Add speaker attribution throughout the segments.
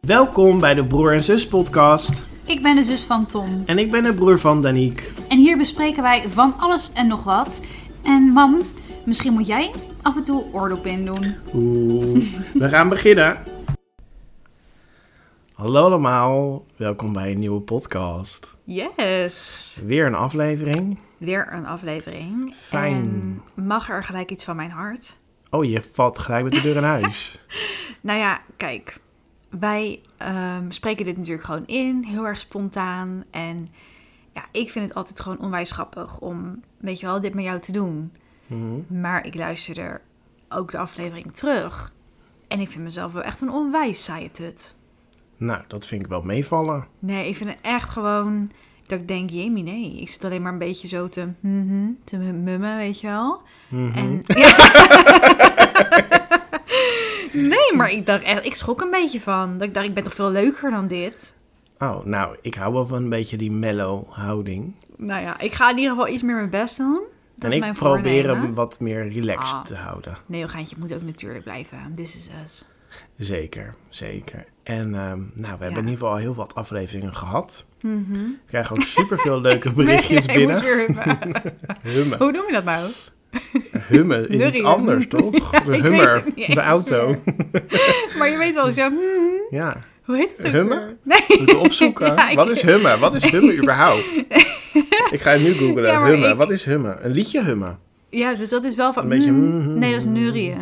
Speaker 1: Welkom bij de Broer en Zus podcast.
Speaker 2: Ik ben de zus van Tom
Speaker 1: En ik ben de broer van Daniek.
Speaker 2: en hier bespreken wij van alles en nog wat. En mam, misschien moet jij af en toe oordop in doen.
Speaker 1: Oeh, we gaan beginnen. Hallo allemaal, welkom bij een nieuwe podcast.
Speaker 3: Yes!
Speaker 1: Weer een aflevering.
Speaker 3: Weer een aflevering.
Speaker 1: Fijn.
Speaker 3: En mag er gelijk iets van mijn hart?
Speaker 1: Oh, je valt gelijk met de deur in huis.
Speaker 3: Nou ja, kijk. Wij ehm, spreken dit natuurlijk gewoon in, heel erg spontaan. En ja, ik vind het altijd gewoon onwijs grappig om, weet je wel, dit met jou te doen.
Speaker 1: Mhm.
Speaker 3: Maar ik luisterde ook de aflevering terug. En ik vind mezelf wel echt een onwijs saaie tut.
Speaker 1: Nou, dat vind ik wel meevallen.
Speaker 3: Nee, ik vind het echt gewoon dat ik denk, jemie, nee. Ik zit alleen maar een beetje zo te, mhm, te mummen, weet je wel.
Speaker 1: Mhm.
Speaker 3: En, nee, maar ik dacht echt, ik schrok een beetje van. Dat ik dacht, ik ben toch veel leuker dan dit.
Speaker 1: Oh, nou, ik hou wel van een beetje die mellow houding.
Speaker 3: Nou ja, ik ga in ieder geval iets meer mijn best doen. Dat
Speaker 1: en
Speaker 3: is
Speaker 1: ik
Speaker 3: mijn
Speaker 1: probeer hem
Speaker 3: voornemen.
Speaker 1: wat meer relaxed
Speaker 3: Ah.
Speaker 1: te houden.
Speaker 3: Nee, joh, geintje, het moet ook natuurlijk blijven. This is us.
Speaker 1: Zeker, zeker. En ehm, nou, we hebben in
Speaker 3: Ja.
Speaker 1: ieder geval al heel wat afleveringen gehad.
Speaker 3: Mhm.
Speaker 1: We krijgen ook superveel leuke berichtjes
Speaker 3: Nee, ik
Speaker 1: binnen.
Speaker 3: moest weer hummen.
Speaker 1: Hummen.
Speaker 3: Hoe noem je dat nou?
Speaker 1: Hummen is iets
Speaker 3: Lurrie.
Speaker 1: anders, toch? De
Speaker 3: ik weet
Speaker 1: hummer,
Speaker 3: het niet
Speaker 1: de
Speaker 3: eens
Speaker 1: auto.
Speaker 3: Maar je weet wel, zo, mhm,
Speaker 1: Ja,
Speaker 3: hoe heet het ook
Speaker 1: Hummen?
Speaker 3: weer? Nee.
Speaker 1: moeten we opzoeken.
Speaker 3: Ja, ik-
Speaker 1: Wat is hummen? Wat is hummen überhaupt? Ik ga het nu googlen.
Speaker 3: Ja, maar
Speaker 1: hummen,
Speaker 3: ik-
Speaker 1: wat is hummen? Een liedje hummen.
Speaker 3: Ja, dus dat is wel van...
Speaker 1: Een beetje,
Speaker 3: mhm.
Speaker 1: mhm.
Speaker 3: Nee, dat is neurieën.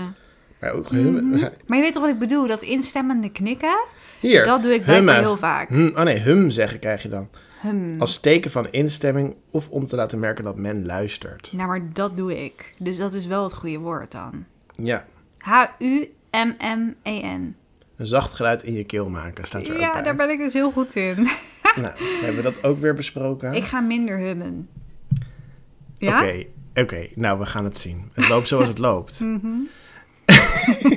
Speaker 1: Maar ook hummen.
Speaker 3: Maar je weet toch wat ik bedoel? Dat instemmende knikken,
Speaker 1: Hier,
Speaker 3: dat doe ik
Speaker 1: hummen.
Speaker 3: blijkbaar heel vaak.
Speaker 1: Hm, oh nee, hum zeggen krijg je dan.
Speaker 3: Hum.
Speaker 1: Als teken van instemming of om te laten merken dat men luistert.
Speaker 3: Nou, maar dat doe ik. Dus dat is wel het goede woord dan.
Speaker 1: Ja,
Speaker 3: H-U-M-M-E-N.
Speaker 1: een zacht geluid in je keel maken staat er ook bij.
Speaker 3: ben ik dus heel goed in.
Speaker 1: Nou, we hebben dat ook weer besproken.
Speaker 3: Ik ga minder hummen. Ja?
Speaker 1: Oké, oké, nou we gaan het zien. Het loopt zoals het loopt.
Speaker 3: Hmm. Eh,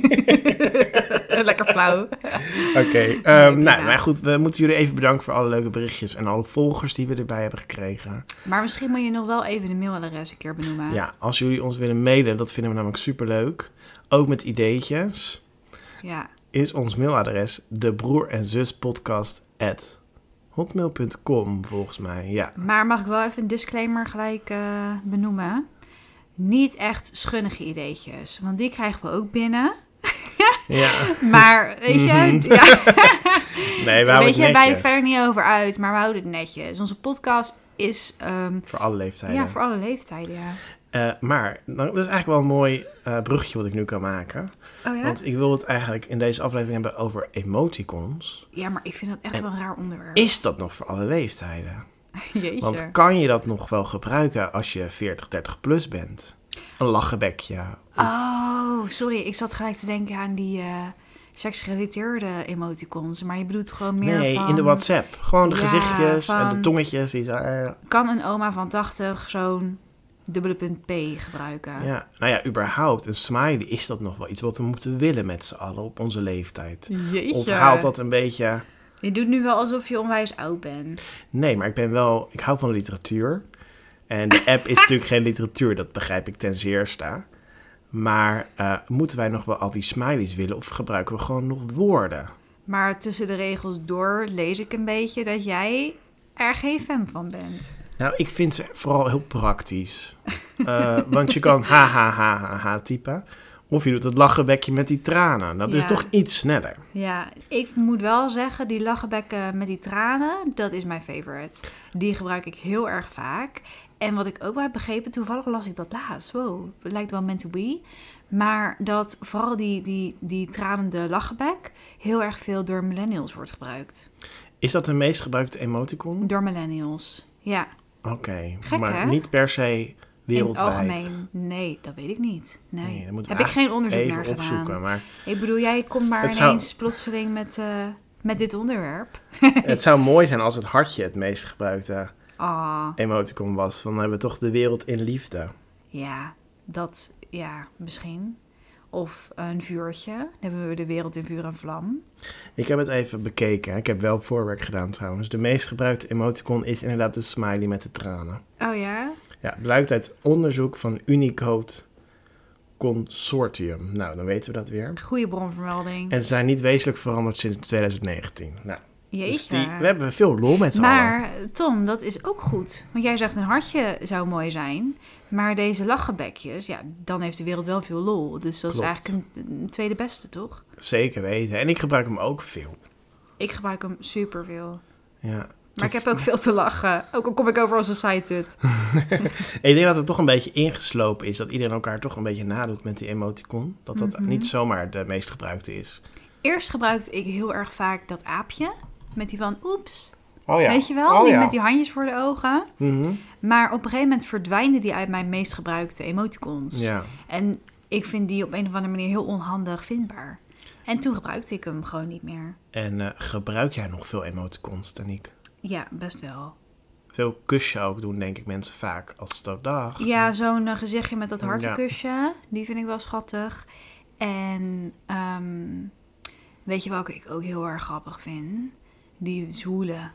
Speaker 3: Lekker flauw.
Speaker 1: Oké, ehm, nou,
Speaker 3: prima.
Speaker 1: maar goed, we moeten jullie even bedanken voor alle leuke berichtjes en alle volgers die we erbij hebben gekregen.
Speaker 3: Maar misschien moet je nog wel even de mailadres een keer benoemen.
Speaker 1: Ja, als jullie ons willen mailen, dat vinden we namelijk superleuk. Ook met ideetjes,
Speaker 3: Ja.
Speaker 1: is ons mailadres de en zus podcast hotmail.com volgens mij. Ja,
Speaker 3: Maar mag ik wel even een disclaimer gelijk eh, benoemen? Niet echt schunnige ideetjes. Want die krijgen we ook binnen.
Speaker 1: ja.
Speaker 3: Maar, weet je...
Speaker 1: Mhm.
Speaker 3: Ja.
Speaker 1: nee, we houden
Speaker 3: Weet
Speaker 1: het
Speaker 3: je, wij
Speaker 1: netjes.
Speaker 3: verder niet over uit, maar we houden het netjes. Onze podcast is ehm,
Speaker 1: Voor alle leeftijden.
Speaker 3: ja, voor alle leeftijden, ja.
Speaker 1: Eh, maar, nou, dat is eigenlijk wel een mooi eh bruggetje wat ik nu kan maken.
Speaker 3: Oh ja?
Speaker 1: Want ik wil het eigenlijk in deze aflevering hebben over emoticons.
Speaker 3: Ja, maar ik vind dat echt wel een raar onderwerp.
Speaker 1: Is dat nog voor alle leeftijden?
Speaker 3: Jeetje.
Speaker 1: Want kan je dat nog wel gebruiken als je 40, 30 plus bent? Een lachenbekje.
Speaker 3: Oh, sorry. Ik zat gelijk te denken aan die eh seksgerelateerde emoticons. Maar je bedoelt gewoon meer
Speaker 1: Nee,
Speaker 3: van...
Speaker 1: in de WhatsApp. Gewoon de
Speaker 3: Ja,
Speaker 1: gezichtjes en de
Speaker 3: van-
Speaker 1: tongetjes. Die zo, eh,
Speaker 3: Kan een oma van 80 zo'n dubbele punt P gebruiken?
Speaker 1: ja. Nou ja, überhaupt. Een smiley is dat nog wel iets wat we moeten willen met z'n allen op onze leeftijd.
Speaker 3: Jeetje.
Speaker 1: Of haalt dat een beetje...
Speaker 3: Je doet nu wel alsof je onwijs oud bent.
Speaker 1: Nee, maar ik ben wel... Ik hou van literatuur. En de app is natuurlijk geen literatuur. Dat begrijp ik ten zeerste. Maar eh, moeten wij nog wel al die smileys willen? Of gebruiken we gewoon nog woorden?
Speaker 3: Maar tussen de regels door lees ik een beetje dat jij er geen fan van bent.
Speaker 1: Nou, ik vind ze vooral heel praktisch. Eh, want je kan ha ha ha ha ha typen. Of je doet het lachenbekje met die tranen. Dat is
Speaker 3: Ja.
Speaker 1: toch iets sneller.
Speaker 3: Ja, ik moet wel zeggen, die lachenbekken met die tranen, dat is mijn favorite. Die gebruik ik heel erg vaak. En wat ik ook wel heb begrepen, toevallig las ik dat laatst. Wow, het lijkt wel meant to be. Maar dat vooral die, die, die tranende lachenbek heel erg veel door millennials wordt gebruikt.
Speaker 1: Is dat de meest gebruikte emoticon?
Speaker 3: Door millennials. Ja,
Speaker 1: Oké,
Speaker 3: Gek,
Speaker 1: maar
Speaker 3: hè?
Speaker 1: niet per se
Speaker 3: in het
Speaker 1: wereldwijd.
Speaker 3: algemeen. Nee, dat weet ik niet. Nee,
Speaker 1: Nee, dat moeten we
Speaker 3: heb ik geen onderzoek
Speaker 1: Even
Speaker 3: naar
Speaker 1: opzoeken.
Speaker 3: gedaan.
Speaker 1: Maar
Speaker 3: Ik bedoel, jij komt maar
Speaker 1: Het zou-
Speaker 3: ineens plotseling met, eh, met dit onderwerp.
Speaker 1: het zou mooi zijn als het hartje het meest gebruikte
Speaker 3: Ah.
Speaker 1: emoticon was. Dan hebben we toch de wereld in liefde.
Speaker 3: Ja, dat, ja, misschien. Of een vuurtje. Dan hebben we de wereld in vuur en vlam.
Speaker 1: Ik heb het even bekeken. Ik heb wel voorwerk gedaan trouwens. De meest gebruikte emoticon is inderdaad de smiley met de tranen.
Speaker 3: Oh ja?
Speaker 1: Ja, blijkt uit onderzoek van Unicode Consortium. Nou, dan weten we dat weer.
Speaker 3: Goede bronvermelding.
Speaker 1: En ze zijn niet wezenlijk veranderd sinds 2019. Nou,
Speaker 3: Jeetje.
Speaker 1: dus die, we hebben veel lol met z'n allen.
Speaker 3: Maar Tom, dat is ook goed. Want jij zegt een hartje zou mooi zijn. Maar deze lachenbekjes, ja, dan heeft de wereld wel veel lol. Dus dat
Speaker 1: Klopt.
Speaker 3: is eigenlijk een, een tweede beste, toch?
Speaker 1: Zeker weten. En ik gebruik hem ook veel.
Speaker 3: Ik gebruik hem superveel.
Speaker 1: Ja.
Speaker 3: Maar ik heb ook veel te lachen. Ook al kom ik over als een side-tut.
Speaker 1: Ik denk dat het toch een beetje ingeslopen is. Dat iedereen elkaar toch een beetje nadoet met die emoticon. Dat dat
Speaker 3: Mhm.
Speaker 1: niet zomaar de meest gebruikte is.
Speaker 3: Eerst gebruikte ik heel erg vaak dat aapje. Met die van oeps.
Speaker 1: Oh ja. Mhm.
Speaker 3: Weet je wel? die met die handjes voor de ogen. Maar op een gegeven moment verdwijnden die uit mijn meest gebruikte emoticons.
Speaker 1: Ja.
Speaker 3: En ik vind die op een of andere manier heel onhandig vindbaar. En toen gebruikte ik hem gewoon niet meer.
Speaker 1: En eh, gebruik jij nog veel emoticons, Danique?
Speaker 3: Ja, best wel.
Speaker 1: Veel kusje ook doen, denk ik, mensen vaak. Als het ook dag.
Speaker 3: Ja, zo'n eh, gezichtje met dat
Speaker 1: Oh, Ja.
Speaker 3: hartenkusje. Die vind ik wel schattig. En ehm, weet je welke ik ook heel erg grappig vind? Die zwoele.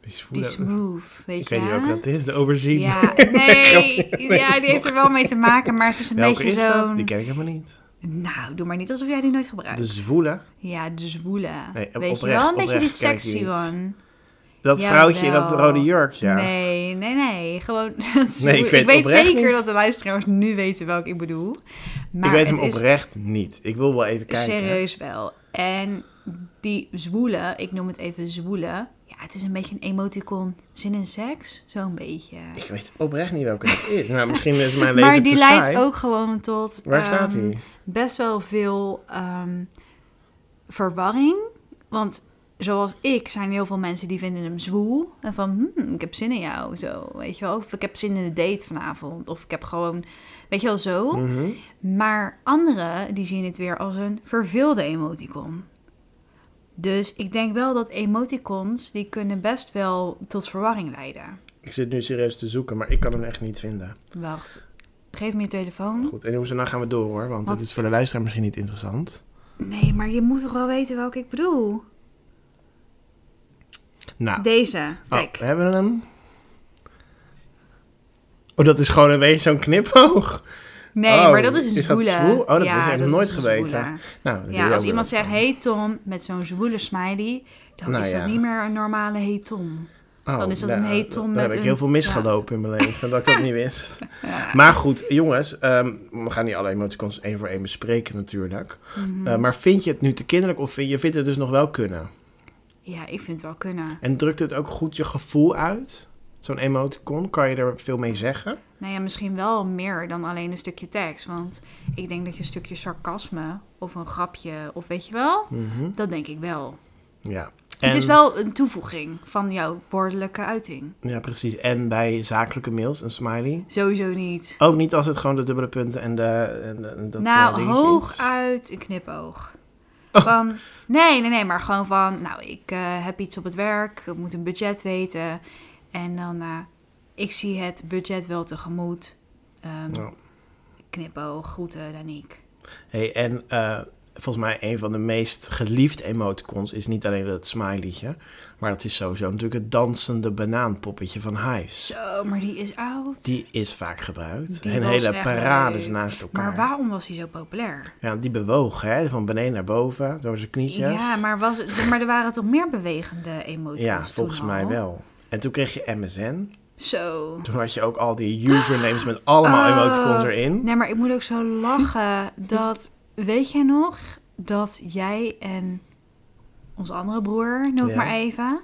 Speaker 1: Die
Speaker 3: Die
Speaker 1: voelen-
Speaker 3: smooth, weet
Speaker 1: Ik
Speaker 3: je
Speaker 1: weet niet welke dat is, de aubergine.
Speaker 3: Ja, nee, ja, die heeft er wel mee te maken, maar het is een
Speaker 1: welke is
Speaker 3: beetje
Speaker 1: dat? Die
Speaker 3: zo'n...
Speaker 1: ken ik helemaal niet.
Speaker 3: Nou, doe maar niet alsof jij die nooit gebruikt.
Speaker 1: De zwoele.
Speaker 3: Ja, de zwoele.
Speaker 1: Nee,
Speaker 3: weet
Speaker 1: op-
Speaker 3: je
Speaker 1: oprecht-
Speaker 3: wel, een beetje die
Speaker 1: oprecht ken ik die
Speaker 3: sexy
Speaker 1: niet.
Speaker 3: one.
Speaker 1: Dat
Speaker 3: Jawel.
Speaker 1: vrouwtje in dat rode jurkje. Ja.
Speaker 3: Nee, nee, nee. Gewoon. dat is-
Speaker 1: Nee, ik
Speaker 3: ik
Speaker 1: weet
Speaker 3: weet,
Speaker 1: oprecht
Speaker 3: zeker
Speaker 1: niet.
Speaker 3: dat de luisteraars nu weten welk ik bedoel. Maar
Speaker 1: ik weet hem
Speaker 3: het is
Speaker 1: oprecht niet. Ik wil wel even kijken.
Speaker 3: serieus wel. En die zwoele, ik noem het even zwoele. Ja, het is een beetje een emoticon zin in seks. Zo'n beetje.
Speaker 1: Ik weet oprecht niet welke dat is. Nou, misschien is mijn leven
Speaker 3: Maar die
Speaker 1: te
Speaker 3: leidt
Speaker 1: saai.
Speaker 3: ook gewoon tot
Speaker 1: Waar
Speaker 3: ehm,
Speaker 1: staat hij?
Speaker 3: best wel veel ehm, verwarring. Want zoals ik zijn er heel veel mensen die vinden hem zwoel. En van, hmm, ik heb zin in jou, zo, weet je wel. Of ik heb zin in de date vanavond. Of ik heb gewoon, weet je wel, zo.
Speaker 1: Mhm.
Speaker 3: Maar anderen, die zien het weer als een verveelde emoticon. Dus ik denk wel dat emoticons, die kunnen best wel tot verwarring leiden.
Speaker 1: Ik zit nu serieus te zoeken, maar ik kan hem echt niet vinden.
Speaker 3: Wacht, geef me je telefoon.
Speaker 1: Goed, en hoe ze nou gaan we door hoor, want
Speaker 3: Wat?
Speaker 1: het is voor de luisteraar misschien niet interessant.
Speaker 3: Nee, maar je moet toch wel weten welke ik bedoel?
Speaker 1: Nou,
Speaker 3: Deze.
Speaker 1: oh,
Speaker 3: Kijk.
Speaker 1: we hebben hem. Oh, dat is gewoon een beetje zo'n knipoog.
Speaker 3: Nee,
Speaker 1: Oh,
Speaker 3: maar dat is een
Speaker 1: is dat
Speaker 3: zwoele.
Speaker 1: zwoel? Oh, dat wist ik nog nooit
Speaker 3: is een
Speaker 1: geweten.
Speaker 3: zwoele.
Speaker 1: Nou,
Speaker 3: Ja, als iemand zegt, hey Tom, met zo'n zwoele smiley, dan
Speaker 1: Nou
Speaker 3: is dat
Speaker 1: ja.
Speaker 3: niet meer een normale hey Tom. dan is dat een hey Tom
Speaker 1: Dan
Speaker 3: met
Speaker 1: Oh, nou, heb ik
Speaker 3: een-
Speaker 1: heel veel misgelopen in mijn leven, dat ik dat niet wist. Maar goed, jongens, ehm, we gaan niet alle emoticons één voor één bespreken natuurlijk.
Speaker 3: Mhm.
Speaker 1: Eh, maar vind je het nu te kinderlijk of vind je vindt het dus nog wel kunnen?
Speaker 3: Ja, ik vind het wel kunnen.
Speaker 1: En drukt het ook goed je gevoel uit? Zo'n emoticon, kan je er veel mee zeggen?
Speaker 3: Nou ja, misschien wel meer dan alleen een stukje tekst. Want ik denk dat je een stukje sarcasme of een grapje of weet je wel, dat denk ik wel.
Speaker 1: Ja.
Speaker 3: Mhm. Het is
Speaker 1: Hm? En-
Speaker 3: wel een toevoeging van jouw woordelijke uiting.
Speaker 1: Ja, precies. En bij zakelijke mails, een smiley.
Speaker 3: Sowieso niet.
Speaker 1: Ook niet als het gewoon de dubbele punten en de... En de en dat, eh,
Speaker 3: nou,
Speaker 1: dingetje is. Oh.
Speaker 3: hooguit een knipoog. Van, nee, nee, nee, maar gewoon van, nou, ik eh, heb iets op het werk, ik moet een budget weten. En dan, eh, ik zie het budget wel tegemoet. Ehm,
Speaker 1: Ja.
Speaker 3: Knipoog, groeten, Daniek.
Speaker 1: Hey, en eh, volgens mij een van de meest geliefde emoticons is niet alleen dat smileytje, maar dat is sowieso natuurlijk het dansende banaanpoppetje van Hives.
Speaker 3: Zo, maar die is oud.
Speaker 1: Die is vaak gebruikt.
Speaker 3: Die
Speaker 1: en
Speaker 3: was
Speaker 1: hele
Speaker 3: echt
Speaker 1: parades
Speaker 3: leuk.
Speaker 1: naast elkaar.
Speaker 3: Maar waarom was hij zo populair?
Speaker 1: Ja, die bewoog, hè? Van beneden naar boven, door zijn knietjes.
Speaker 3: Ja, maar, was het, maar er waren toch meer bewegende emoties
Speaker 1: Ja, volgens mij wel. En toen kreeg je MSN.
Speaker 3: Zo.
Speaker 1: Toen had je ook al die usernames met allemaal
Speaker 3: Oh.
Speaker 1: emoticons erin.
Speaker 3: Nee, maar ik moet ook zo lachen dat... Weet jij nog dat jij en onze andere broer, noem het
Speaker 1: Ja.
Speaker 3: maar even...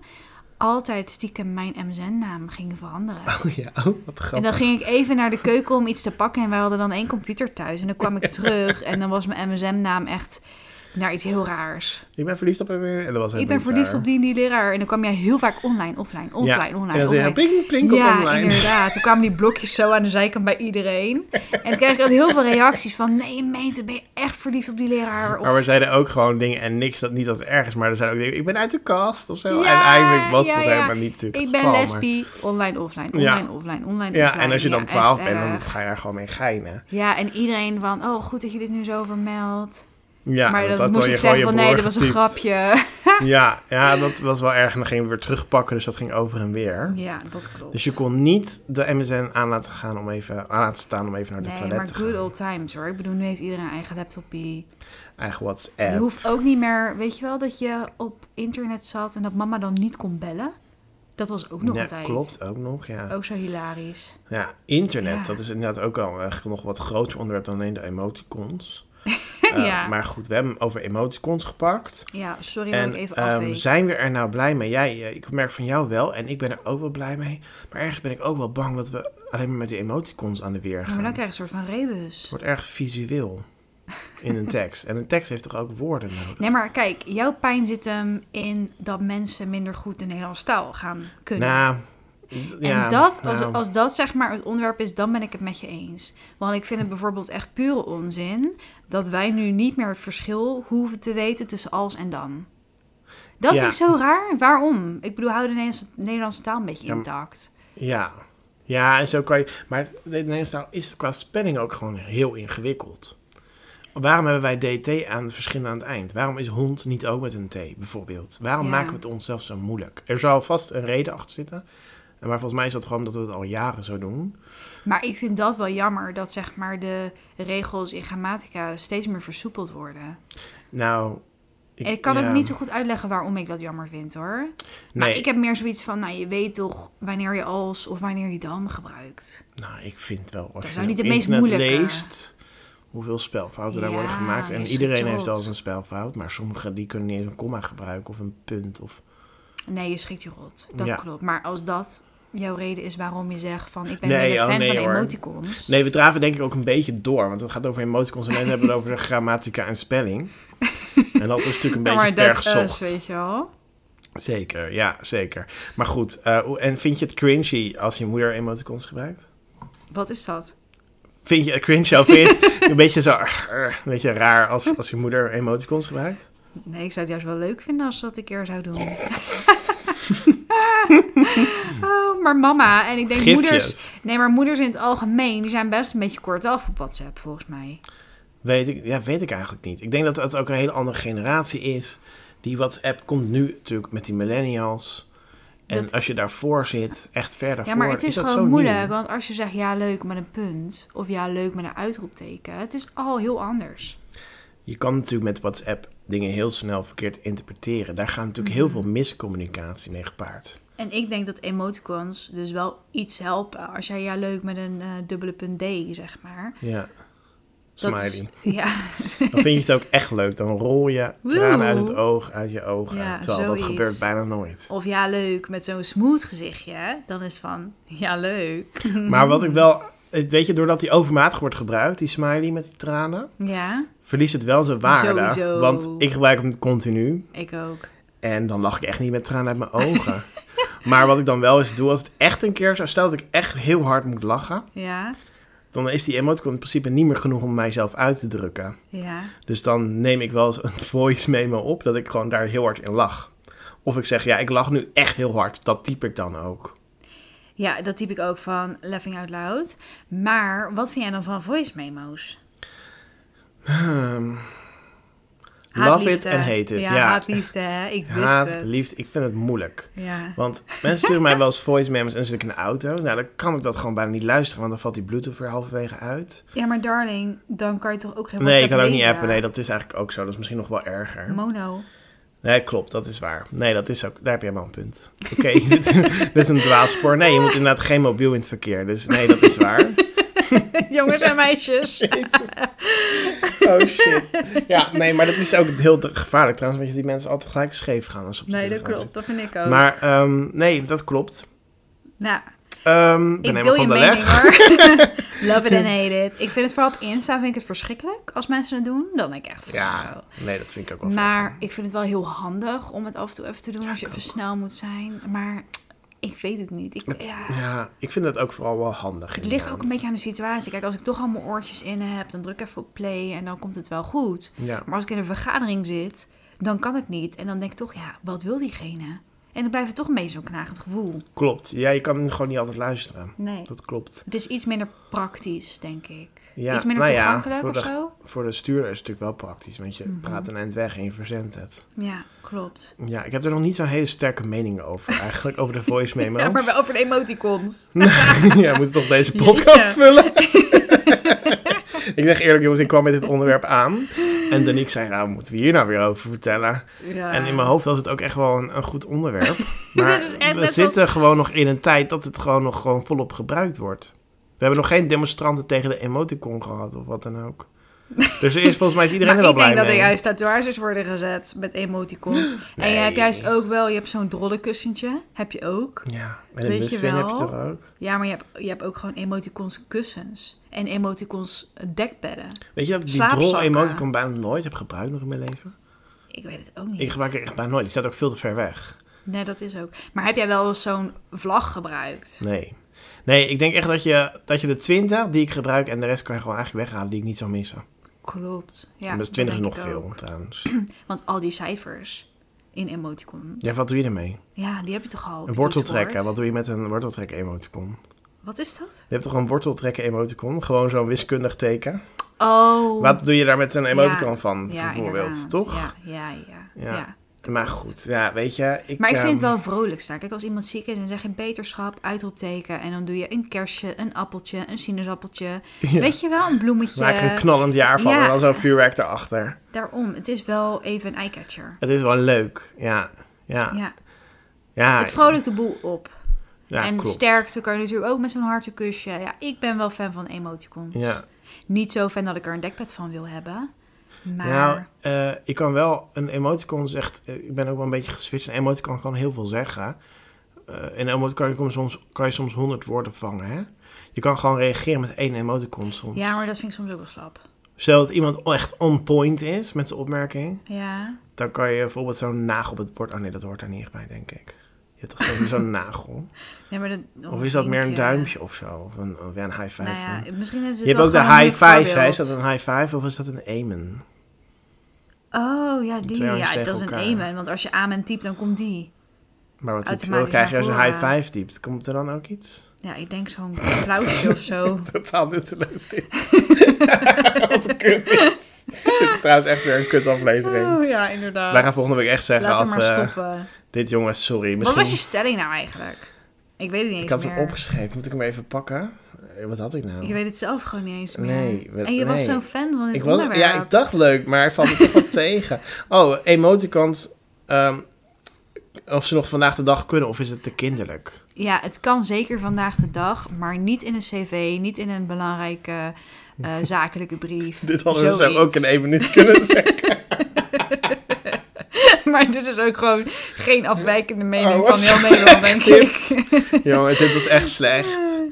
Speaker 3: altijd stiekem mijn MSN-naam gingen veranderen?
Speaker 1: Oh ja, oh, wat
Speaker 3: En
Speaker 1: grappig.
Speaker 3: dan ging ik even naar de keuken om iets te pakken en wij hadden dan één computer thuis. En dan kwam ik terug en dan was mijn MSN-naam echt naar iets heel raars.
Speaker 1: Ik ben verliefd op hem weer. En dat was
Speaker 3: Ik ben verliefd op die en die leraar. En dan kwam jij heel vaak online, offline, offline,
Speaker 1: ja.
Speaker 3: online.
Speaker 1: En dan zeg je
Speaker 3: online.
Speaker 1: ping, ping,
Speaker 3: ja,
Speaker 1: op online.
Speaker 3: inderdaad. Toen kwamen die blokjes zo aan de zijkant bij iedereen. En dan kreeg ik dan heel veel reacties van... Nee, meent, ben je echt verliefd op die leraar? Of,
Speaker 1: Maar we zeiden ook gewoon dingen en niks dat niet dat erg is, maar er zijn ook dingen. Ik ben uit de kast of zo.
Speaker 3: Ja,
Speaker 1: en eigenlijk was
Speaker 3: ja,
Speaker 1: dat
Speaker 3: ja.
Speaker 1: helemaal niet natuurlijk.
Speaker 3: ik
Speaker 1: het
Speaker 3: ben
Speaker 1: geval, maar-
Speaker 3: lesbi. Online, offline, online,
Speaker 1: Ja.
Speaker 3: offline, online,
Speaker 1: Ja,
Speaker 3: offline.
Speaker 1: en als je dan
Speaker 3: Ja,
Speaker 1: twaalf
Speaker 3: echt
Speaker 1: bent, dan
Speaker 3: erg.
Speaker 1: ga je daar gewoon mee geinen.
Speaker 3: Ja, en iedereen van... Oh, goed dat je dit nu zo vermeldt.
Speaker 1: Ja,
Speaker 3: maar dan moest
Speaker 1: wel
Speaker 3: ik
Speaker 1: je- gewoon
Speaker 3: zeggen
Speaker 1: je
Speaker 3: van nee,
Speaker 1: broer
Speaker 3: dat was een
Speaker 1: getypt.
Speaker 3: grapje.
Speaker 1: Ja, ja, dat was wel erg. En dan gingen we weer terugpakken, dus dat ging over en weer.
Speaker 3: Ja, dat klopt.
Speaker 1: Dus je kon niet de MSN aan laten, gaan om even, aan laten staan om even naar de
Speaker 3: Nee,
Speaker 1: toilet
Speaker 3: maar
Speaker 1: te
Speaker 3: good
Speaker 1: gaan.
Speaker 3: old times hoor. Ik bedoel, nu heeft iedereen een eigen laptopie.
Speaker 1: Eigen
Speaker 3: Je
Speaker 1: WhatsApp.
Speaker 3: hoeft ook niet meer, weet je wel, dat je op internet zat en dat mama dan niet kon bellen. Dat was ook nog
Speaker 1: ja,
Speaker 3: een tijd.
Speaker 1: klopt ook nog, ja.
Speaker 3: Ook zo hilarisch.
Speaker 1: Ja, internet,
Speaker 3: Ja.
Speaker 1: dat is inderdaad ook al echt nog wat groter onderwerp dan alleen de emoticons.
Speaker 3: Ja.
Speaker 1: Eh, Maar goed, we hebben hem over emoticons gepakt.
Speaker 3: Ja, sorry dat
Speaker 1: En
Speaker 3: ik even
Speaker 1: ehm,
Speaker 3: afweek.
Speaker 1: zijn we er nou blij mee? Jij, eh, ik merk van jou wel en ik ben er ook wel blij mee. Maar ergens ben ik ook wel bang dat we alleen maar met die emoticons aan de weer
Speaker 3: Ja,
Speaker 1: gaan.
Speaker 3: maar dan krijg je een soort van rebus.
Speaker 1: Het wordt erg visueel in een tekst. en een tekst heeft toch ook woorden nodig?
Speaker 3: Nee, maar kijk, jouw pijn zit hem in dat mensen minder goed de Nederlandse taal gaan kunnen.
Speaker 1: Nou,
Speaker 3: en
Speaker 1: ja,
Speaker 3: dat, als,
Speaker 1: nou,
Speaker 3: als dat zeg maar het onderwerp is, dan ben ik het met je eens. Want ik vind het bijvoorbeeld echt pure onzin dat wij nu niet meer het verschil hoeven te weten tussen als en dan. Dat
Speaker 1: Ja.
Speaker 3: vind ik zo raar. Waarom? Ik bedoel, hou de Nederlandse, Nederlandse taal een beetje
Speaker 1: Ja, maar-
Speaker 3: intact.
Speaker 1: Ja. ja, en zo kan je... Maar de Nederlandse taal is qua spelling ook gewoon heel ingewikkeld. Waarom hebben wij DT aan het verschil aan het eind? Waarom is hond niet ook met een T, bijvoorbeeld? Waarom
Speaker 3: Ja.
Speaker 1: maken we het onszelf zo moeilijk? Er zou vast een reden achter zitten. Maar volgens mij is dat gewoon dat we het al jaren zo doen.
Speaker 3: Maar ik vind dat wel jammer dat zeg maar de regels in grammatica steeds meer versoepeld worden.
Speaker 1: Nou...
Speaker 3: En ik kan
Speaker 1: ja,
Speaker 3: ook niet zo goed uitleggen waarom ik dat jammer vind hoor. Maar
Speaker 1: nee,
Speaker 3: ik heb meer zoiets van, nou je weet toch wanneer je als of wanneer je dan gebruikt.
Speaker 1: Nou, ik vind wel. Als
Speaker 3: Dat
Speaker 1: je
Speaker 3: zijn niet
Speaker 1: op
Speaker 3: de meest
Speaker 1: internet
Speaker 3: moeilijke.
Speaker 1: leest hoeveel spelfouten daar
Speaker 3: Ja,
Speaker 1: worden gemaakt. En
Speaker 3: je
Speaker 1: iedereen
Speaker 3: schrikt je
Speaker 1: heeft
Speaker 3: rot.
Speaker 1: al een spelfout, maar sommigen die kunnen niet eens een komma gebruiken of een punt. Of...
Speaker 3: Nee, je schiet je rot. Dat
Speaker 1: Ja.
Speaker 3: klopt. Maar als dat jouw reden is waarom je zegt van ik ben
Speaker 1: Nee,
Speaker 3: nee,
Speaker 1: oh,
Speaker 3: fan
Speaker 1: nee,
Speaker 3: van
Speaker 1: hoor.
Speaker 3: emoticons.
Speaker 1: Nee, we draven denk ik ook een beetje door, want het gaat over emoticons en net hebben we het over de grammatica en spelling. En dat is natuurlijk een
Speaker 3: Ja,
Speaker 1: beetje
Speaker 3: maar
Speaker 1: ver
Speaker 3: dat eh, is,
Speaker 1: gezocht.
Speaker 3: weet je wel.
Speaker 1: zeker, ja, zeker. Maar goed, eh, hoe- en vind je het cringy als je moeder emoticons gebruikt?
Speaker 3: Wat is dat?
Speaker 1: Vind je het cringy of vind je het een beetje zo, eh, een beetje raar als, als je moeder emoticons gebruikt?
Speaker 3: Nee, ik zou het juist wel leuk vinden als ze dat een keer zou doen. oh, maar mama en ik denk moeders...
Speaker 1: Gifjes.
Speaker 3: Nee, maar moeders in het algemeen, die zijn best een beetje kortaf op WhatsApp volgens mij.
Speaker 1: Weet ik, ja, weet ik eigenlijk niet. Ik denk dat het ook een hele andere generatie is. Die WhatsApp komt nu natuurlijk met die millennials. En
Speaker 3: Dat-
Speaker 1: als je daarvoor zit, echt verder
Speaker 3: Ja,
Speaker 1: voor,
Speaker 3: maar het is,
Speaker 1: dat zo
Speaker 3: gewoon moeilijk.
Speaker 1: nieuw.
Speaker 3: Want als je zegt ja leuk met een punt of ja leuk met een uitroepteken, het is al heel anders.
Speaker 1: Je kan natuurlijk met WhatsApp dingen heel snel verkeerd interpreteren. Daar gaan natuurlijk
Speaker 3: Mhm.
Speaker 1: heel veel miscommunicatie mee gepaard.
Speaker 3: En ik denk dat emoticons dus wel iets helpen. Als jij ja leuk met een eh, dubbele punt D, zeg maar.
Speaker 1: Ja.
Speaker 3: Dat
Speaker 1: Smiley.
Speaker 3: Is, ja,
Speaker 1: Dan vind je het ook echt leuk. Dan rol je tranen uit het
Speaker 3: Woe.
Speaker 1: oog, uit je ogen.
Speaker 3: Ja,
Speaker 1: Terwijl dat
Speaker 3: zoiets.
Speaker 1: gebeurt bijna nooit.
Speaker 3: of ja leuk met zo'n smooth gezichtje, dan is het van ja leuk.
Speaker 1: Maar wat ik wel... Weet je, doordat die overmatig wordt gebruikt, die smiley met die tranen...
Speaker 3: Ja,
Speaker 1: verliest het wel zijn waarde.
Speaker 3: Sowieso.
Speaker 1: Want ik gebruik hem continu.
Speaker 3: ik ook.
Speaker 1: En dan lach ik echt niet met tranen uit mijn ogen. maar wat ik dan wel eens doe, als het echt een keer zou... Stel dat ik echt heel hard moet lachen...
Speaker 3: Ja,
Speaker 1: dan is die emoticon in principe niet meer genoeg om mijzelf uit te drukken.
Speaker 3: ja.
Speaker 1: Dus dan neem ik wel eens een voice memo op... dat ik gewoon daar heel hard in lach. Of ik zeg, ja, ik lach nu echt heel hard. Dat typ ik dan ook.
Speaker 3: Ja, dat typ ik ook van laughing out loud. Maar wat vind jij dan van voice memo's?
Speaker 1: Hmm. Love it
Speaker 3: Haatliefde.
Speaker 1: en hate it.
Speaker 3: Ja,
Speaker 1: Ja,
Speaker 3: haatliefde. hè? Ik wist
Speaker 1: Haat,
Speaker 3: het.
Speaker 1: liefde, ik vind het moeilijk.
Speaker 3: Ja.
Speaker 1: Want mensen sturen mij wel eens voice memos en dan zit ik in de auto. Nou, dan kan ik dat gewoon bijna niet luisteren, want dan valt die Bluetooth weer halverwege uit.
Speaker 3: ja, maar darling, dan kan je toch ook geen
Speaker 1: nee, ik
Speaker 3: WhatsApp
Speaker 1: kan ook niet
Speaker 3: lezen?
Speaker 1: appen. Nee, dat is eigenlijk ook zo. Dat is misschien nog wel erger.
Speaker 3: Mono.
Speaker 1: Nee, klopt. Dat is waar. Nee, dat is ook... Daar heb je helemaal een punt. Oké, dit, dit is een dwaalspoor. Nee, je moet inderdaad geen mobiel in het verkeer. Dus nee, dat is waar.
Speaker 3: Jongens en meisjes.
Speaker 1: Jezus. Oh, shit. Ja, nee, maar dat is ook heel gevaarlijk trouwens. Want je ziet die mensen altijd gelijk scheef gaan als ze op de
Speaker 3: Nee, dat
Speaker 1: telefoon
Speaker 3: klopt. Dat vind ik ook.
Speaker 1: zitten. Maar ehm, nee, dat klopt.
Speaker 3: nou,
Speaker 1: Ehm ik ben
Speaker 3: ik
Speaker 1: helemaal
Speaker 3: deel
Speaker 1: van
Speaker 3: je
Speaker 1: de
Speaker 3: mening
Speaker 1: leg.
Speaker 3: hoor. Love it and hate it. Ik vind het vooral op Insta vind ik het verschrikkelijk als mensen het doen. Dan denk ik echt van nou.
Speaker 1: Ja, nee, dat vind ik ook wel
Speaker 3: Maar ik vind het wel heel handig om het af en toe even te doen als je even snel moet zijn. Maar ik weet het niet. Ik, ja,
Speaker 1: Ja, ik vind dat ook vooral wel handig.
Speaker 3: het ligt ook een beetje aan de situatie. Kijk, als ik toch al mijn oortjes in heb, dan druk ik even op play en dan komt het wel goed.
Speaker 1: Ja,
Speaker 3: Maar als ik in een vergadering zit, dan kan het niet. En dan denk ik toch, ja, wat wil diegene? En dan blijft het toch mee zo'n knagend gevoel.
Speaker 1: Klopt. Ja, je kan gewoon niet altijd luisteren.
Speaker 3: Nee.
Speaker 1: Dat klopt.
Speaker 3: Het is iets minder praktisch, denk ik.
Speaker 1: Ja,
Speaker 3: iets minder
Speaker 1: nou ja,
Speaker 3: toegankelijk
Speaker 1: voor
Speaker 3: of
Speaker 1: de-
Speaker 3: zo. Mhm.
Speaker 1: Voor de stuurder is het natuurlijk wel praktisch, want je praat een eind weg en je verzendt het.
Speaker 3: Ja, klopt.
Speaker 1: Ja, ik heb er nog niet zo'n hele sterke mening over eigenlijk, over de voice memo.
Speaker 3: Ja, maar wel over de emoticons.
Speaker 1: ja, we moeten toch deze podcast
Speaker 3: Ja.
Speaker 1: vullen? ik zeg eerlijk, jongens, ik kwam met dit onderwerp aan. En Danique zei, nou, moeten we hier nou weer over vertellen?
Speaker 3: Ja.
Speaker 1: En in mijn hoofd was het ook echt wel een, een goed onderwerp.
Speaker 3: Dit
Speaker 1: Maar
Speaker 3: is echt
Speaker 1: we
Speaker 3: net
Speaker 1: zitten gewoon nog in een tijd dat het gewoon nog gewoon volop gebruikt wordt. We hebben nog geen demonstranten tegen de emoticon gehad of wat dan ook. Dus er is, volgens mij is iedereen
Speaker 3: maar
Speaker 1: er wel
Speaker 3: ik denk
Speaker 1: blij
Speaker 3: dat
Speaker 1: mee.
Speaker 3: er juist tatoeages worden gezet met emoticons. En je hebt
Speaker 1: Nee.
Speaker 3: juist ook wel, je hebt zo'n drollekussentje. Heb je ook.
Speaker 1: Ja, en een
Speaker 3: Weet je
Speaker 1: muffin heb je
Speaker 3: wel?
Speaker 1: toch ook?
Speaker 3: Ja, maar je hebt, je hebt ook gewoon emoticons kussens. En emoticons dekbedden.
Speaker 1: Weet je dat ik die
Speaker 3: Slaapzakken.
Speaker 1: drol emoticon bijna nooit heb gebruikt nog in mijn leven?
Speaker 3: Ik weet het ook niet.
Speaker 1: Ik gebruik het echt bijna nooit. Die staat ook veel te ver weg.
Speaker 3: Nee, dat is ook. Maar heb jij wel eens zo'n vlag gebruikt?
Speaker 1: Nee. Nee, ik denk echt dat je, dat je de 20 die ik gebruik en de rest kan je gewoon eigenlijk weghalen die ik niet zou missen.
Speaker 3: Klopt. Ja,
Speaker 1: en dat is 20 is
Speaker 3: denk
Speaker 1: nog
Speaker 3: ik
Speaker 1: veel
Speaker 3: ook.
Speaker 1: trouwens.
Speaker 3: Want al die cijfers in emoticon,
Speaker 1: Ja, wat doe je ermee?
Speaker 3: ja, die heb je toch al? op je
Speaker 1: Een worteltrekker.
Speaker 3: toetsenbord?
Speaker 1: Wat doe je met een worteltrek emoticon?
Speaker 3: Wat is dat?
Speaker 1: Je hebt toch een worteltrekker emoticon? Gewoon zo'n wiskundig teken.
Speaker 3: Oh.
Speaker 1: Wat doe je daar met een emoticon van,
Speaker 3: Ja,
Speaker 1: bijvoorbeeld,
Speaker 3: inderdaad.
Speaker 1: toch?
Speaker 3: Ja, ja, ja.
Speaker 1: Ja.
Speaker 3: ja.
Speaker 1: Maar goed, ja, weet je. Ik,
Speaker 3: Maar ik vind
Speaker 1: ehm,
Speaker 3: het wel vrolijk staan. Kijk, als iemand ziek is en zeg je beterschap, uitroepteken. En dan doe je een kersje, een appeltje, een sinaasappeltje.
Speaker 1: ja,
Speaker 3: Weet je wel, een bloemetje.
Speaker 1: Maak er een knallend jaar van
Speaker 3: Ja.
Speaker 1: en dan zo'n vuurwerk erachter.
Speaker 3: Daarom, het is wel even een eyecatcher.
Speaker 1: Het is wel leuk, ja. Ja, ja.
Speaker 3: Ja. Het vrolijkt de boel op.
Speaker 1: ja,
Speaker 3: en
Speaker 1: klopt.
Speaker 3: sterkte kan je natuurlijk ook met zo'n harte kusje. Ja, ik ben wel fan van emoticons.
Speaker 1: Ja,
Speaker 3: Niet zo fan dat ik er een dekbed van wil hebben. Maar
Speaker 1: Nou, eh, ik kan wel een emoticon zegt. eh, ik ben ook wel een beetje geswitcht. Een emoticon kan heel veel zeggen. Eh, in een emoticon kan je soms, kan je soms 100 woorden vangen. Hè? Je kan gewoon reageren met één emoticon soms.
Speaker 3: ja, maar dat vind ik soms ook wel slap.
Speaker 1: Stel dat iemand echt on point is met zijn opmerking,
Speaker 3: Ja.
Speaker 1: dan kan je bijvoorbeeld zo'n nagel op het bord. Oh nee, dat hoort daar niet echt bij, denk ik. Je hebt toch sowieso zo'n nagel?
Speaker 3: ja maar dat,
Speaker 1: Of is dat meer een
Speaker 3: Ja.
Speaker 1: duimpje of zo? Of een, of ja, een high five?
Speaker 3: Nou ja, misschien hebben ze
Speaker 1: je
Speaker 3: het
Speaker 1: hebt ook de
Speaker 3: wel gewoon
Speaker 1: high
Speaker 3: een
Speaker 1: five, hè? Is dat
Speaker 3: voorbeeld.
Speaker 1: een high five of is dat een amen?
Speaker 3: Oh, ja, die.
Speaker 1: twee handjes
Speaker 3: Ja, dat is
Speaker 1: tegen
Speaker 3: een
Speaker 1: elkaar.
Speaker 3: amen. Want als je amen typt, dan komt die.
Speaker 1: Maar wat, typ- wat
Speaker 3: Automatisch
Speaker 1: krijg je
Speaker 3: naar
Speaker 1: als je een high
Speaker 3: voren.
Speaker 1: five typt? Komt er dan ook iets?
Speaker 3: Ja, ik denk zo'n applausje of zo.
Speaker 1: totaal nutteloos dit. Wat een kut dit. Dit is trouwens echt weer een kut aflevering.
Speaker 3: Oh ja, inderdaad.
Speaker 1: Wij gaan volgende week echt zeggen
Speaker 3: Laten we
Speaker 1: als
Speaker 3: maar
Speaker 1: we-
Speaker 3: stoppen.
Speaker 1: Dit jongens, sorry.
Speaker 3: Wat
Speaker 1: Misschien...
Speaker 3: was je stelling nou eigenlijk? Ik weet het
Speaker 1: ik
Speaker 3: niet eens
Speaker 1: had
Speaker 3: meer.
Speaker 1: hem opgeschreven. Moet ik hem even pakken? Eh, Wat had ik nou?
Speaker 3: Ik weet het zelf gewoon niet eens meer.
Speaker 1: Nee, we-
Speaker 3: en je was
Speaker 1: nee.
Speaker 3: zo'n fan van dit
Speaker 1: Ik was,
Speaker 3: onderwerp.
Speaker 1: ja, ik dacht leuk, maar het valt me toch wat tegen. Oh, emoticons. ehm, of ze nog vandaag de dag kunnen of is het te kinderlijk?
Speaker 3: Ja, het kan zeker vandaag de dag, maar niet in een cv, niet in een belangrijke eh, zakelijke brief.
Speaker 1: Dit hadden we zo
Speaker 3: Zoiets.
Speaker 1: ook in één minuut kunnen zeggen.
Speaker 3: maar dit is ook gewoon geen afwijkende mening
Speaker 1: Oh, wat
Speaker 3: van heel Nederland, denk ik.
Speaker 1: Jongens, dit was echt slecht.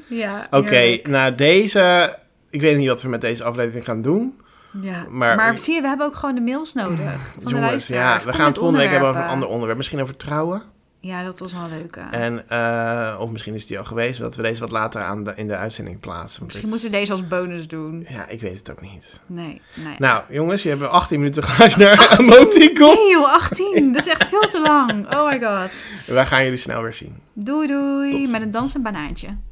Speaker 3: ja,
Speaker 1: Oké,
Speaker 3: heerlijk.
Speaker 1: nou deze... Ik weet niet wat we met deze aflevering gaan doen.
Speaker 3: Ja.
Speaker 1: maar- Mm,
Speaker 3: Maar, zie je, we hebben ook gewoon de mails nodig van de
Speaker 1: Jongens,
Speaker 3: luisteraars.
Speaker 1: ja, we
Speaker 3: Kom
Speaker 1: gaan
Speaker 3: met
Speaker 1: het volgende week hebben over een Eh,
Speaker 3: onderwerpen.
Speaker 1: ander onderwerp. Misschien over trouwen.
Speaker 3: Ja, dat was wel een leuke.
Speaker 1: En, eh, of misschien is die al geweest, dat we deze wat later aan de, in de uitzending plaatsen. Want
Speaker 3: Misschien
Speaker 1: dit-
Speaker 3: moeten we deze als bonus doen.
Speaker 1: dus- Ja, ik weet het ook niet.
Speaker 3: Nee, nee.
Speaker 1: Nou, jongens, je hebt 18 minuten geluisterd naar Emoticon.
Speaker 3: Nee, joh, 18. Dat is echt veel te lang. Oh my god.
Speaker 1: Wij gaan jullie snel weer zien.
Speaker 3: Doei,
Speaker 1: Tot
Speaker 3: doei.
Speaker 1: ziens.
Speaker 3: Met een dansend banaantje.